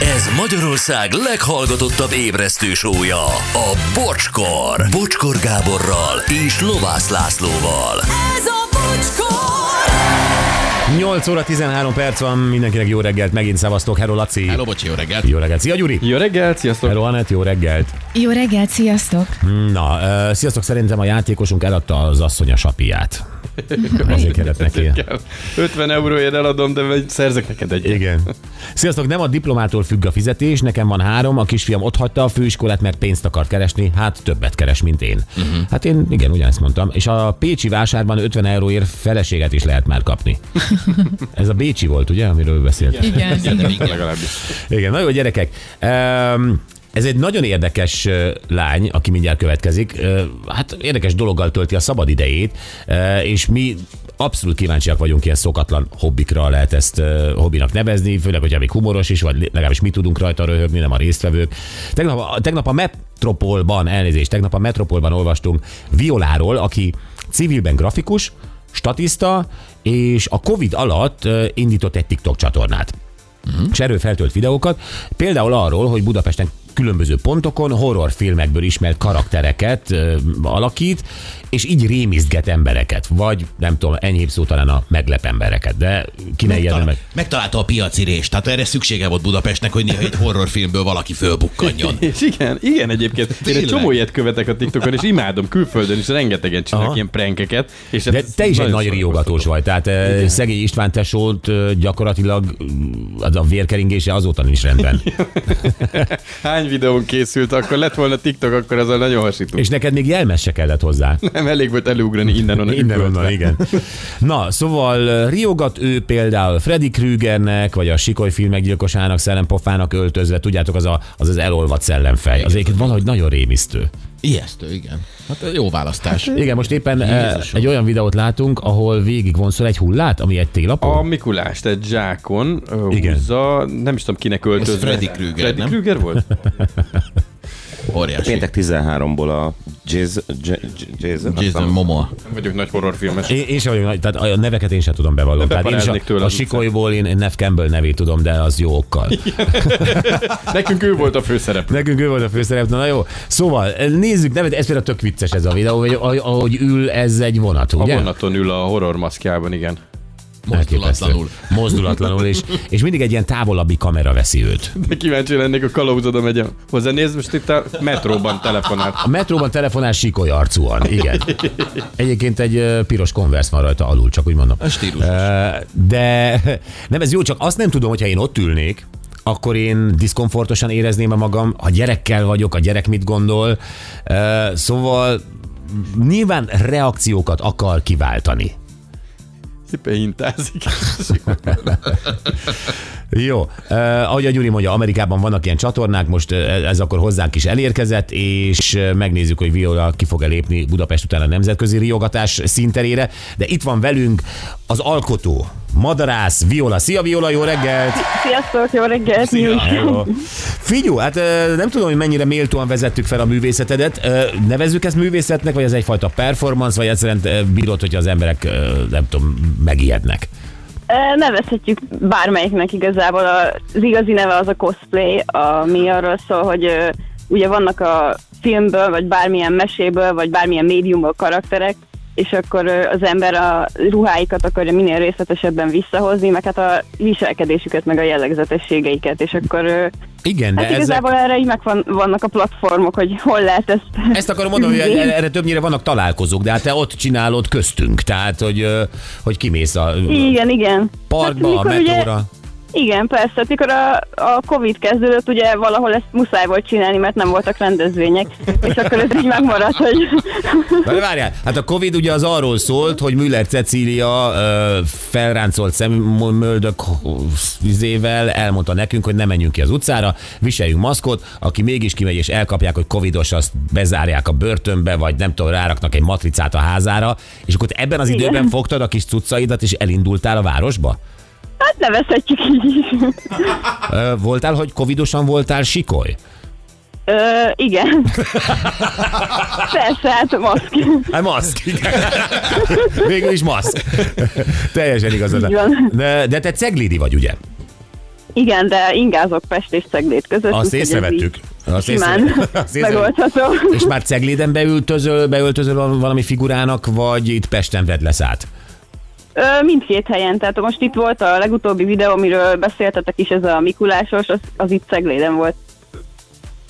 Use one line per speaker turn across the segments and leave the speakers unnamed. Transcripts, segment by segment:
Ez Magyarország leghallgatottabb ébresztő sója, a Bocskor. Bocskor Gáborral és Lovász Lászlóval.
Ez a bocskor!
8 óra 13 perc van, mindenkinek jó reggelt, megint szavaztok. Hello Laci!
Hello, bocsi, jó reggelt.
Jó reggelt! Szia Gyuri!
Jó reggelt, sziasztok!
Hello Anett, jó reggelt!
Jó reggelt, sziasztok!
Na, ö, sziasztok, szerintem a játékosunk eladta az asszony a sapiját. Azért kellett neki.
50 euróért eladom, de vagy szerzek neked egy.
Igen. Sziasztok, nem a diplomától függ a fizetés, nekem van három, a kisfiam ott hagyta a főiskolát, mert pénzt akart keresni, hát többet keres, mint én.
Mhm.
Uh-huh. Hát én igen, ugyanezt mondtam. És a Pécsi vásárban 50 euróért feleséget is lehet már kapni. Ez a Bécsi volt, ugye, amiről beszéltem.
Igen.
Legalábbis.
Igen, na jó, gyerekek. Ehm, Ez egy nagyon érdekes ö, lány, aki mindjárt következik. Ö, Hát érdekes dologgal tölti a szabad idejét, ö, és mi abszolút kíváncsiak vagyunk ilyen szokatlan hobbikra, lehet ezt ö, hobbinak nevezni, főleg, hogyha még humoros is, vagy legalábbis mi tudunk rajta röhögni, nem a résztvevők. Tegnap, a- tegnap a Metropolban, elnézést, tegnap a Metropolban olvastunk Violáról, aki civilben grafikus, statiszta, és a Covid alatt ö, indított egy TikTok csatornát Hm? és erről feltölt videókat, például arról, hogy Budapesten különböző pontokon horrorfilmekből ismert karaktereket ö, alakít, és így rémizget embereket, vagy nem tudom, enyhébb szó talán a meglep embereket, de ki ne ijedne meg.
Megtalál- Megtalálta a piaci rést, tehát erre szüksége volt Budapestnek, hogy néha egy horrorfilmből valaki fölbukkanjon.
És igen, igen egyébként. Én
Tényleg?
egy csomó ilyet követek a TikTokon, és imádom külföldön is, rengetegen csinálnak ilyen prankeket. És
De
ez
te is egy
nagyon
nagy
szórakoztató.
riogatós vagy, tehát Igen. szegény István tesót ö, gyakorlatilag ö, az a vérkeringése azóta nincs rendben.
Hány videón készült, akkor lett volna TikTok, akkor az a nagyon hasító. És
És neked még jelmes se kellett hozzá.
nem elég volt elugrani innen onnan.
Innen
üvöltve.
onnan, igen. Na, szóval riogat ő például Freddy Krügernek, vagy a Sikoly filmek gyilkosának, szellempofának öltözve, tudjátok, az a, az, az elolvadt szellemfej. Az egyébként valahogy nagyon rémisztő.
Ijesztő, igen. Hát ez jó választás.
Igen, most éppen eh, egy olyan videót látunk, ahol végig vonszol egy hullát, ami egy
A
télapó.
Mikulást egy zsákon ö,
Igen.
húzza, nem is tudom kinek öltözve.
Freddy Krüger,
Freddy
nem?
Krüger volt?
Óriási.
Péntek 13-ból a Jason, J- J- Jason,
Jason Momoa.
Nem vagyok nagy horrorfilmes.
Én, én sem vagyok, nagy- tehát a neveket én sem tudom bevallom. Tehát én is a,
beparáznék tőle
a
az utcán.
Sikolyból én Nev Campbell nevét tudom, de az jó okkal.
Nekünk ő volt a főszerep.
Nekünk ő volt a főszerep, na, na jó. Szóval nézzük, nem, ez például tök vicces ez a videó, hogy ahogy- ahogy ül ez egy vonat,
A
ugye?
vonaton ül a horror maszkjában, igen.
Mozdulatlanul.
Elképesztő. Mozdulatlanul, és, és mindig egy ilyen távolabbi kamera veszi őt.
De kíváncsi lennék, a kalauzodom megy hozzá. Nézd, most itt a metróban telefonált.
A metróban telefonál sikoly arcúan, igen. Egyébként egy ö, piros konversz van rajta alul, csak úgy mondom.
A stílusos.
Ö, De nem, ez jó, csak azt nem tudom, hogyha én ott ülnék, akkor én diszkomfortosan érezném a magam, ha gyerekkel vagyok, a gyerek mit gondol. Ö, Szóval nyilván reakciókat akar kiváltani.
Szépen hintázik.
Jó, eh, ahogy a Gyuri mondja, Amerikában vannak ilyen csatornák, most eh, ez akkor hozzánk is elérkezett, és eh, megnézzük, hogy Viola ki fog elépni Budapest után a nemzetközi riogatás színterére, de itt van velünk az alkotó, madarász Viola. Szia Viola, jó reggelt!
Sziasztok, jó reggelt!
Hello. Figyú, hát eh, nem tudom, hogy mennyire méltóan vezettük fel a művészetedet. Eh, Nevezzük ezt művészetnek, vagy ez egyfajta performance, vagy egyszerűen eh, bírod, hogy az emberek, eh, nem tudom, megijednek.
Ö, Nevezhetjük bármelyiknek igazából. A- Az igazi neve az a cosplay, ami arról szól, hogy ö, ugye vannak a filmből, vagy bármilyen meséből, vagy bármilyen médiumból karakterek, és akkor ö, az ember a ruháikat akarja minél részletesebben visszahozni, meg hát a viselkedésüket, meg a jellegzetességeiket, és akkor ö,
Igen, de
hát
ezek-
igazából erre így meg van, vannak a platformok, hogy hol lehet ezt.
Ezt akarom mondani, hogy
űzni.
erre többnyire vannak találkozók, de hát te ott csinálod köztünk, tehát hogy, ö, hogy kimész a
Igen, igen. Hát
parkba, a
mikor ugye-
metróra.
Igen, persze. Hát Mikor a, a Covid kezdődött, ugye valahol ezt muszáj volt csinálni, mert nem voltak rendezvények, és akkor ez így megmaradt, hogy
Várjál, várjál, hát a Covid ugye az arról szólt, hogy Müller Cecília ö, felráncolt szemmöldök vizével elmondta nekünk, hogy ne menjünk ki az utcára, viseljünk maszkot, aki mégis kimegy és elkapják, hogy Covidos, azt bezárják a börtönbe, vagy nem tudom, ráraknak egy matricát a házára, és akkor te ebben az
Igen.
időben fogtad a kis cuccaidat és elindultál a városba?
hát nevezhetjük így is.
Ö, voltál, hogy Covidosan voltál sikoly?
Ö, igen. Persze, hát maszk.
Hát maszk, igen. Végül is maszk. Teljesen igazad.
Így van.
De, de te ceglidi vagy, ugye?
Igen, de ingázok Pest és Ceglét között.
Azt
úgyhogy ez
észrevettük.
így
Azt
Simán
észre- azt észre-
megoldható.
És már Cegléden beültözöl, beöltözöl val- valami figurának, vagy itt Pesten vedd lesz át?
Ö, Mindkét helyen, tehát most itt volt a legutóbbi videó, amiről beszéltetek is, ez a Mikulásos, az, az itt Cegléden volt.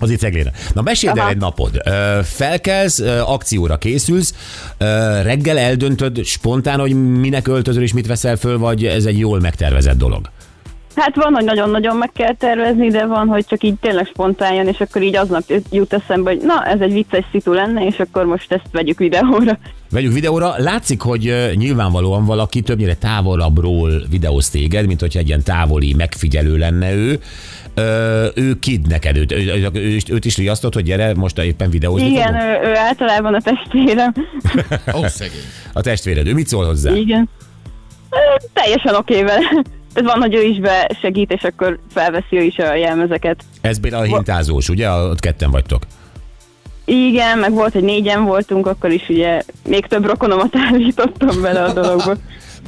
Az itt Ceglére. Na meséld el
Aha.
egy napod. Ö, Felkelsz, ö, akcióra készülsz, ö, reggel eldöntöd spontán, hogy minek öltözöl és mit veszel föl, vagy ez egy jól megtervezett dolog.
Hát van, hogy nagyon-nagyon meg kell tervezni, de van, hogy csak így tényleg spontán jön, és akkor így aznap jut eszembe, hogy na, ez egy vicces szitu lenne, és akkor most ezt vegyük videóra.
Vegyük videóra. Látszik, hogy ö, nyilvánvalóan valaki többnyire távolabbról videóz téged, mint hogyha egy ilyen távoli megfigyelő lenne ő. Ö, ő kid neked, őt, ő, ő, is- őt is riasztott, hogy gyere, most éppen videózni
Igen,
fogunk?
ő, ő általában a testvérem.
Ó, szegény.
A testvéred, ő mit szól hozzá?
Igen. Ö, Teljesen oké vele. Tehát van, hogy ő is besegít, és akkor felveszi ő is a jelmezeket.
Ez például a hintázós, ugye? Ott ketten vagytok.
Igen, meg volt, hogy négyen voltunk, akkor is ugye még több rokonomat állítottam bele a dologba.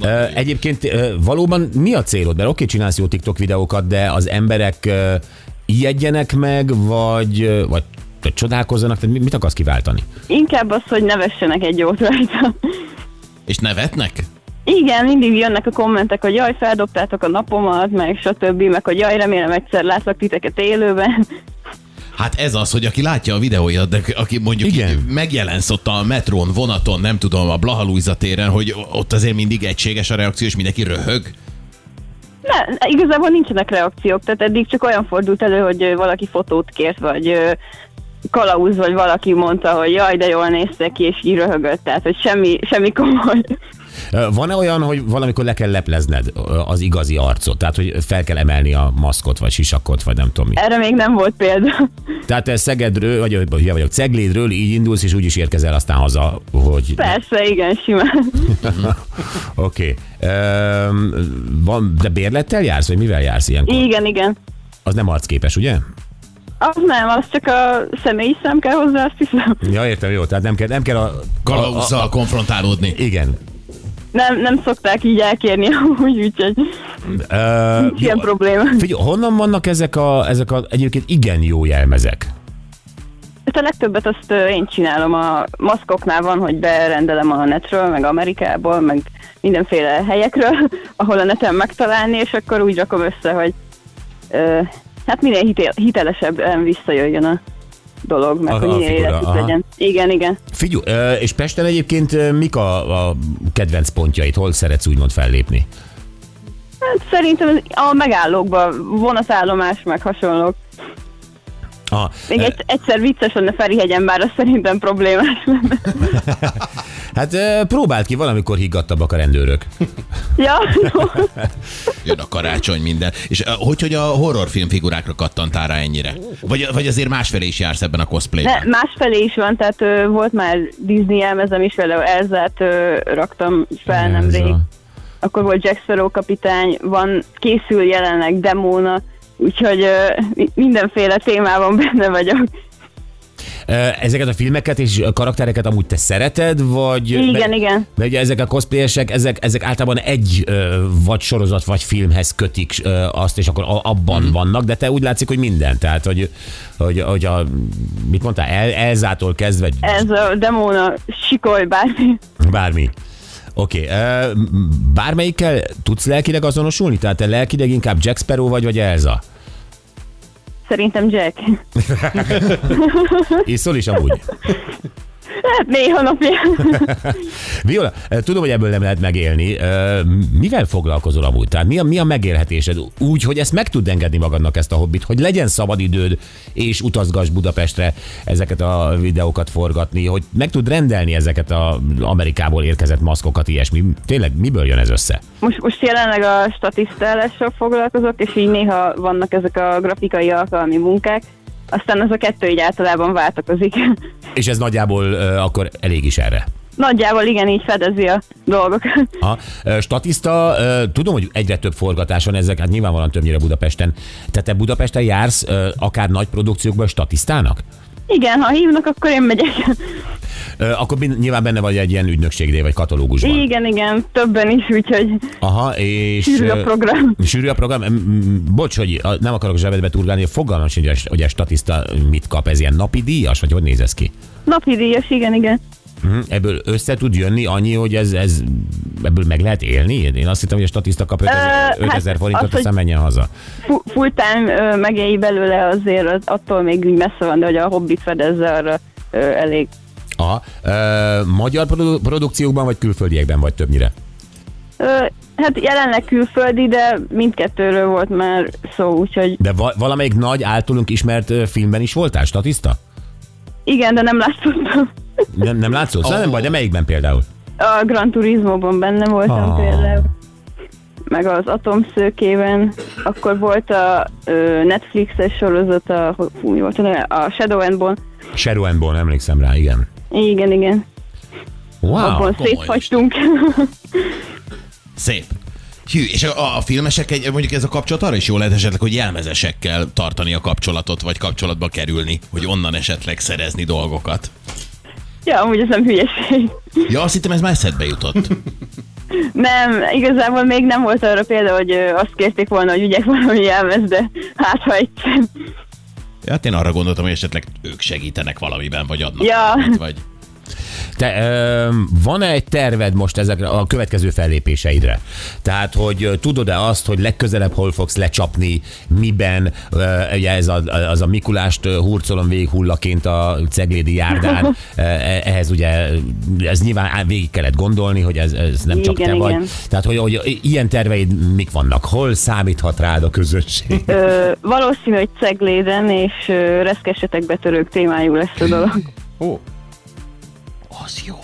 Ö, Egyébként ö, valóban mi a célod? Mert oké, csinálsz jó TikTok videókat, de az emberek ö, ijedjenek meg, vagy, ö, vagy vagy csodálkozzanak, tehát mi- mit akarsz kiváltani?
Inkább az, hogy nevessenek egy jót rajta.
És nevetnek?
Igen, mindig jönnek a kommentek, hogy jaj, feldobtátok a napomat, meg stb., meg hogy jaj, remélem egyszer látlak titeket élőben.
Hát ez az, hogy aki látja a videóidat, de aki mondjuk
Igen.
Igen. megjelensz ott a metrón, vonaton, nem tudom, a Blahalújza téren, hogy ott azért mindig egységes a reakció, és mindenki röhög.
Ne, igazából nincsenek reakciók, tehát eddig csak olyan fordult elő, hogy ö, valaki fotót kért, vagy ö, kalauz, vagy valaki mondta, hogy jaj, de jól néztek ki, és így röhögött, tehát hogy semmi, semmi komoly.
Ö, Van-e olyan, hogy valamikor le kell leplezned ö, az igazi arcot? Tehát, hogy fel kell emelni a maszkot, vagy sisakot, vagy nem tudom mi.
Erre még nem volt példa.
Tehát te Szegedről, vagy vagy hülye vagyok, Ceglédről így indulsz, és úgy is érkezel aztán haza, hogy...
Persze, igen, simán.
Oké. Öm, Van, de bérlettel jársz, vagy mivel jársz ilyenkor?
Igen, igen.
Az nem arcképes, ugye?
Az nem, az csak a személyi szám kell hozzá, azt hiszem.
Ja, értem, jó, tehát nem kell, nem kell a... a, a,
Kalauzzal konfrontálódni.
igen.
Nem, nem szokták így elkérni, úgy, úgyhogy
Ö,
ilyen
jó,
probléma.
figyelj, honnan vannak ezek a, ezek a egyébként igen jó jelmezek?
Hát a legtöbbet azt ö, én csinálom, a maszkoknál van, hogy berendelem a netről, meg Amerikából, meg mindenféle helyekről, ahol a neten megtalálni, és akkor úgy rakom össze, hogy ö, hát minél hitél, hitelesebben visszajöjjön a dolog, meg
A-
hogy
a
minél
figura,
életű
aha.
legyen. Igen, igen.
Figyú, ö, és Pesten egyébként ö, mik a, a kedvenc pontjait? Hol szeretsz úgymond fellépni?
Hát szerintem a megállókban vonatállomás, meg hasonlók.
Ah,
Még
ö,
egy, egyszer vicces lenne Ferihegyen, bár az szerintem problémás lenne.
hát ö, próbáld ki, valamikor higgadtabbak a rendőrök.
Ja, jó.
Jön a karácsony minden. És ö, hogy, hogy a horrorfilm figurákra kattantál rá ennyire? Vagy, vagy azért másfelé is jársz ebben a
Ne,
cosplayben?
másfelé is van, tehát ö, volt már Disney jelmezem is, például Elzát ö, raktam fel
Elza.
nemrég. Akkor volt Jack Sparrow kapitány, van, készül jelenleg Demóna, úgyhogy ö, mi- mindenféle témában benne vagyok.
Ö, Ezeket a filmeket és karaktereket amúgy te szereted, vagy...
Igen,
mert-
igen.
Mert ugye ezek a cosplayesek, ezek, ezek általában egy ö, vagy sorozat, vagy filmhez kötik ö, azt, és akkor a- abban
Mhm.
mm. vannak, de te úgy látszik, hogy minden. Tehát, hogy, hogy, hogy a, mit mondtál, El, Elzától kezdve
Ez a Demóna, sikoly bármi.
bármi. Oké, okay. bármelyikkel tudsz lelkileg azonosulni? Tehát te lelkileg inkább Jack Sparrow vagy, vagy Elza?
Szerintem Jack.
Iszol is amúgy.
Hát néha napján.
Viola, ö, tudom, hogy ebből nem lehet megélni. Ö, Mivel foglalkozol amúgy? Tehát mi a, mi a megélhetésed? Úgy, hogy ezt meg tud engedni magadnak ezt a hobbit, hogy legyen szabad időd, és utazgass Budapestre ezeket a videókat forgatni, hogy meg tud rendelni ezeket a Amerikából érkezett maszkokat, ilyesmi. Tényleg, miből jön ez össze?
Most, most jelenleg a statisztálással foglalkozok, és így néha vannak ezek a grafikai alkalmi munkák, aztán az a kettő így általában váltakozik.
És ez nagyjából ö, akkor elég is erre.
Nagyjából igen, így fedezi a dolgokat.
Ha, statiszta, ö, tudom, hogy egyre több forgatás van ezek, hát nyilvánvalóan többnyire Budapesten. Tehát te Budapesten jársz ö, akár nagy produkciókban statisztának?
Igen, ha hívnak, akkor én megyek.
Ö, Akkor mind- nyilván benne vagy egy ilyen ügynökségnél, vagy katalógusban.
Igen, igen, többen is, úgyhogy
Aha, és...
sűrű a
ö,
program.
Sűrű a program. M- m- Bocs, hogy a- nem akarok zsebedbe turgálni, fogalmam sincs, hogy a- hogy a statiszta mit kap. Ez ilyen napi díjas, vagy hogy néz ez ki?
Napi díjas, igen, igen.
Mhm. Ebből össze tud jönni annyi, hogy ez, ez ebből meg lehet élni? Én azt hittem, hogy a statiszta kap 5000
Ö, hát
5000 forintot,
az, hogy-
aztán menjen haza.
Fu- Full-time ö, megélj belőle azért, az attól még úgy messze van, de hogy a hobbit fedezze arra ö, elég.
Aha. Ö, magyar produ- produkciókban, vagy külföldiekben vagy többnyire?
Ö, Hát jelenleg külföldi, de mindkettőről volt már szó, úgyhogy
De va- valamelyik nagy, általunk ismert ö, filmben is voltál statiszta?
igen, de nem láttam.
Nem, nem látszott? Oh. Nem baj, de melyikben például?
A Gran Turismo-ban benne voltam
Ah.
ah. például, meg az Atomszőkében, akkor volt a ö, Netflixes sorozat, a, fú, mi volt a, neve? a Shadow and Bone,
Sheryl and Bone, emlékszem rá, igen.
igen, igen,
Wow.
abban
komoly
szétfagytunk.
Szép. Hű, és a, a filmesek, egy, mondjuk ez a kapcsolat arra is jó lehet esetleg, hogy jelmezesekkel tartani a kapcsolatot, vagy kapcsolatba kerülni, hogy onnan esetleg szerezni dolgokat.
ja, amúgy ez nem hülyeség.
Ja, azt hittem ez már eszedbe jutott.
Nem, igazából még nem volt arra példa, hogy ö, azt kérték volna, hogy ügyek valami jelmez, de hát ha egyszer.
Ja, hát én arra gondoltam, hogy esetleg ők segítenek valamiben, vagy adnak
Ja.
valamit, vagy...
Te, ö, van-e egy terved most ezekre a következő fellépéseidre? Tehát, hogy ö, tudod-e azt, hogy legközelebb hol fogsz lecsapni, miben, ö, ugye ez a, az a Mikulást ö, hurcolom végig hullaként a ceglédi járdán, Ö, e- ehhez ugye, ez nyilván á- végig kellett gondolni, hogy ez, ez nem csak
Igen,
te
igen.
vagy. Tehát, hogy, hogy i- ilyen terveid mik vannak? Hol számíthat rád a közösség?
Ö, valószínű, hogy cegléden és ö, reszkesetek betörők témájú lesz a dolog.
Ó,
Az jó.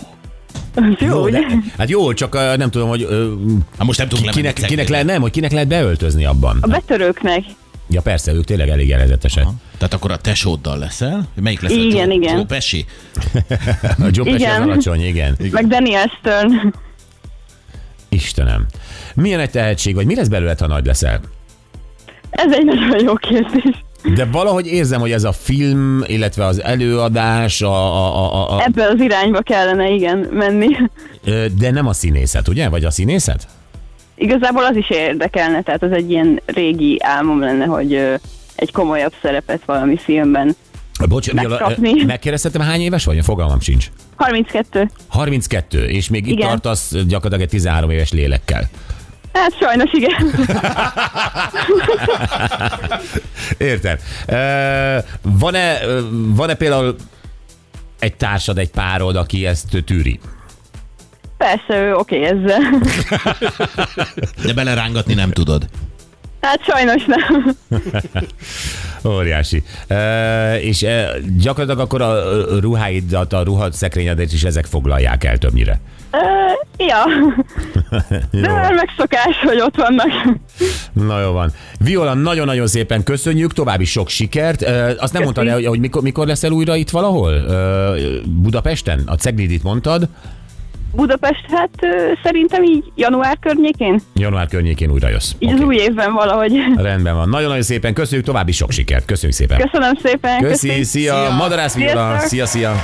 Az jó, ugye?
de, hát jó, csak ö, nem tudom, hogy ö,
Hát most nem tudunk
kinek,
lemenni
kinek, le,
Ceglédre.
nem, hogy kinek lehet beöltözni abban.
A betörőknek.
Ja persze, ők tényleg elég előzetesek.
Aha. Tehát akkor a tesóddal leszel? Melyik lesz a
Igen,
Joe,
igen.
Joe Pesci?
A jobb az
Igen.
alacsony, igen.
Meg Daniel Stern.
Istenem. Milyen egy tehetség vagy? Mi lesz belőled, ha nagy leszel?
Ez egy nagyon jó kérdés.
De valahogy érzem, hogy ez a film, illetve az előadás, a, a, a, a, a,
Ebbe az irányba kellene, igen, menni.
ö, de nem a színészet, ugye? Vagy a színészet?
Igazából az is érdekelne, tehát az egy ilyen régi álmom lenne, hogy ö, egy komolyabb szerepet valami filmben.
Bocs, mi a-
Megkapni.
ö, megkérdeztem, hány éves vagy? Fogalmam sincs.
32.
32, és még itt
Igen.
tartasz gyakorlatilag egy 13 éves lélekkel.
Hát sajnos igen.
Értem. Ö, Van-e, ö, van-e például egy társad, egy párod, aki ezt tűri?
Persze, ő oké ezzel.
De belerángatni nem tudod.
Hát sajnos nem.
Óriási. E, és e, gyakorlatilag akkor a ö, ruháidat, a ruhad szekrényedet is ezek foglalják el többnyire.
Ö, ja, de
Jó.
már megszokás, hogy ott vannak.
Na jó van. Viola, nagyon-nagyon szépen köszönjük, további sok sikert. E, azt nem mondtad el, hogy, hogy mikor, mikor leszel újra itt valahol? E, Budapesten? A Ceglidit mondtad.
Budapest, hát ö, szerintem így január környékén,
Január környékén újra jössz.
így az új évben valahogy.
Rendben van. Nagyon-nagyon szépen köszönjük, további sok sikert. Köszönjük szépen.
Köszönöm szépen.
Köszi, szia, szia.
Szia.
Madarász Viola.
Sziasztok.
Szia, szia.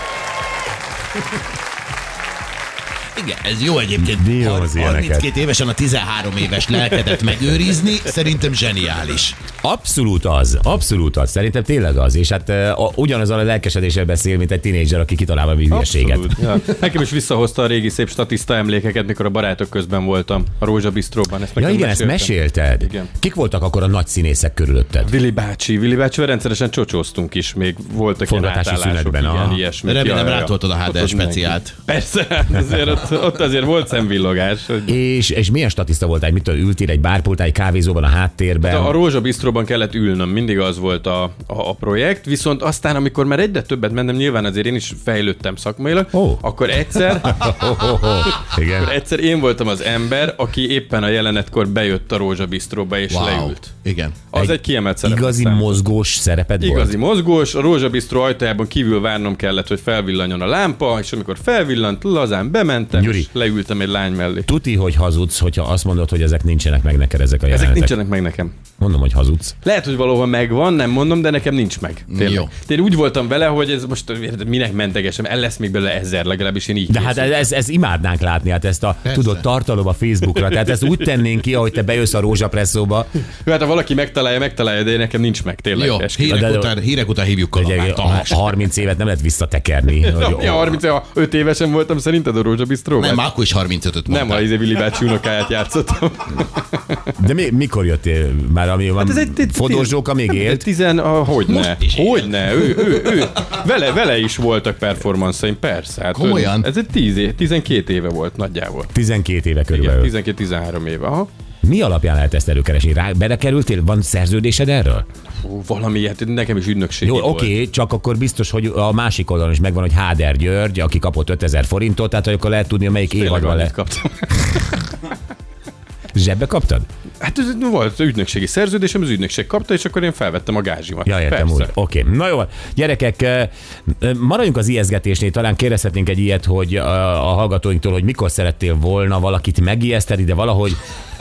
Igen, ez jó egyébként.
Bírom az
Har-
ilyeneket.
32 évesen a 13 éves lelkedet megőrizni, szerintem zseniális.
Abszolút az, abszolút az. Szerintem tényleg az. És hát uh, ugyanazon a lelkesedéssel beszél, mint egy tínédzser, aki kitalál valami hülyeséget.
abszolút. Ja. Nekem is visszahozta a régi szép statiszta emlékeket, mikor a barátok közben voltam a Rózsabistróban. Ezt
Ja
nekem
igen, ezt mesélted. Igen.
Igen.
Kik voltak akkor a nagy színészek körülötted?
Vili bácsi, Vili bácsival rendszeresen csocsóztunk is, még voltak ilyen
Forgatási
átállások,
szünetben,
igen,
aha.
ilyesmi.
Remélem rátoltad a
Ott
HDR
az
speciált.
Persze, hát azért ott, ott azért volt szemvillogás. Hogy
És, és milyen statiszta voltál? Mit tudom, ültél egy bárpultál, egy kávézóban a háttérben?
Hát A Rózsa Bistróban kellett ülnöm, mindig az volt a, a, a projekt, viszont aztán, amikor már egyre többet mentem, nyilván azért én is fejlődtem szakmailag,
Ó.
akkor egyszer,
Oh, oh, oh. Igen.
akkor egyszer én voltam az ember, aki éppen a jelenetkor bejött a Rózsa Bistróba és wow. leült.
Igen.
Az egy, egy kiemelt szerep.
Igazi
aztán.
mozgós szereped
Igazi
volt?
mozgós, a rózsabisztró ajtajában kívül várnom kellett, hogy felvillanjon a lámpa, és amikor felvillant, lazán bement, megijedtem,
Gyuri.
és leültem egy lány mellé.
Tuti, hogy hazudsz, hogyha azt mondod, hogy ezek nincsenek meg neked ezek a jelenetek.
Ezek nincsenek meg nekem.
Mondom, hogy hazudsz.
Lehet, hogy valahol megvan, nem mondom, de nekem nincs meg. Tényleg.
Jó.
Jó. Én úgy voltam vele, hogy ez most érted, minek mentegesem, el lesz még belőle ezer, legalábbis én így
De hát ez, ez imádnánk látni, hát ezt a Persze. tudod tartalom a Facebookra, tehát ezt úgy tennénk ki, ahogy te bejössz a rózsapresszóba,
Jó, hát ha valaki megtalálja, megtalálja, de nekem nincs meg, tényleg.
Jó,
esküszöm.
hírek,
de- de-
után, hírek után hívjuk
ugye
Kalambát,
a
Tamás.
a 30 évet nem lehet visszatekerni. hogy-
Ja, 35 évesen voltam, szerinted a Rózsa Bistró?
Nem, már akkor is 35-öt
nem a
mondtál.
Izé Willy bácsi unokáját játszottam.
Hát
De mi, mikor jöttél már, ami van, hát Fodor Zsóka még élt?
Tizen, ah, hogy ne,
is él.
hogy ne, ő, ő, ő. Vele, vele is voltak performanszaim, persze. Hát
Komolyan?
Ön, ez egy 10 év, 12 éve volt nagyjából.
12 éve
Igen,
körülbelül.
12-13 éve. Aha.
Mi alapján lehet ezt előkeresni? Rá, belekerültél? Van szerződésed erről?
Ó, valami, hát nekem is ügynökség
Jó,
volt.
oké, okay, csak akkor biztos, hogy a másik oldalon is megvan, hogy Háder György, aki kapott 5000 forintot, tehát akkor lehet tudni, hogy melyik
Tényleg
évadban
annyit
le.
kaptam.
Zsebbe kaptad?
Hát ez volt ügynökségi szerződésem, az ügynökség kapta, és akkor én felvettem a gázsimat.
Ja, értem
Persze.
úgy. Oké. Okay. Na jó, gyerekek, eh, eh, maradjunk az ijesztgetésnél. Talán kérdezhetnénk egy ilyet, hogy eh, a hallgatóinktól, hogy mikor szerettél volna valakit megijeszteni, de valahogy,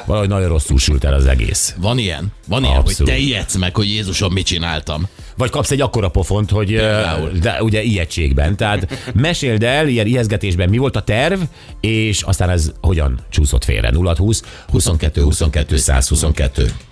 valahogy nagyon rosszul sült el az egész.
Van ilyen? Van ilyen,
Abszolút.
hogy te ijedsz meg, hogy Jézusom, mit csináltam.
Vagy kapsz egy akkora pofont, hogy eh,
Például.
de ugye ijedtségben. Tehát meséld el, ilyen ijesztgetésben mi volt a terv, és aztán ez hogyan csúszott félre? 0 20 22 22 122.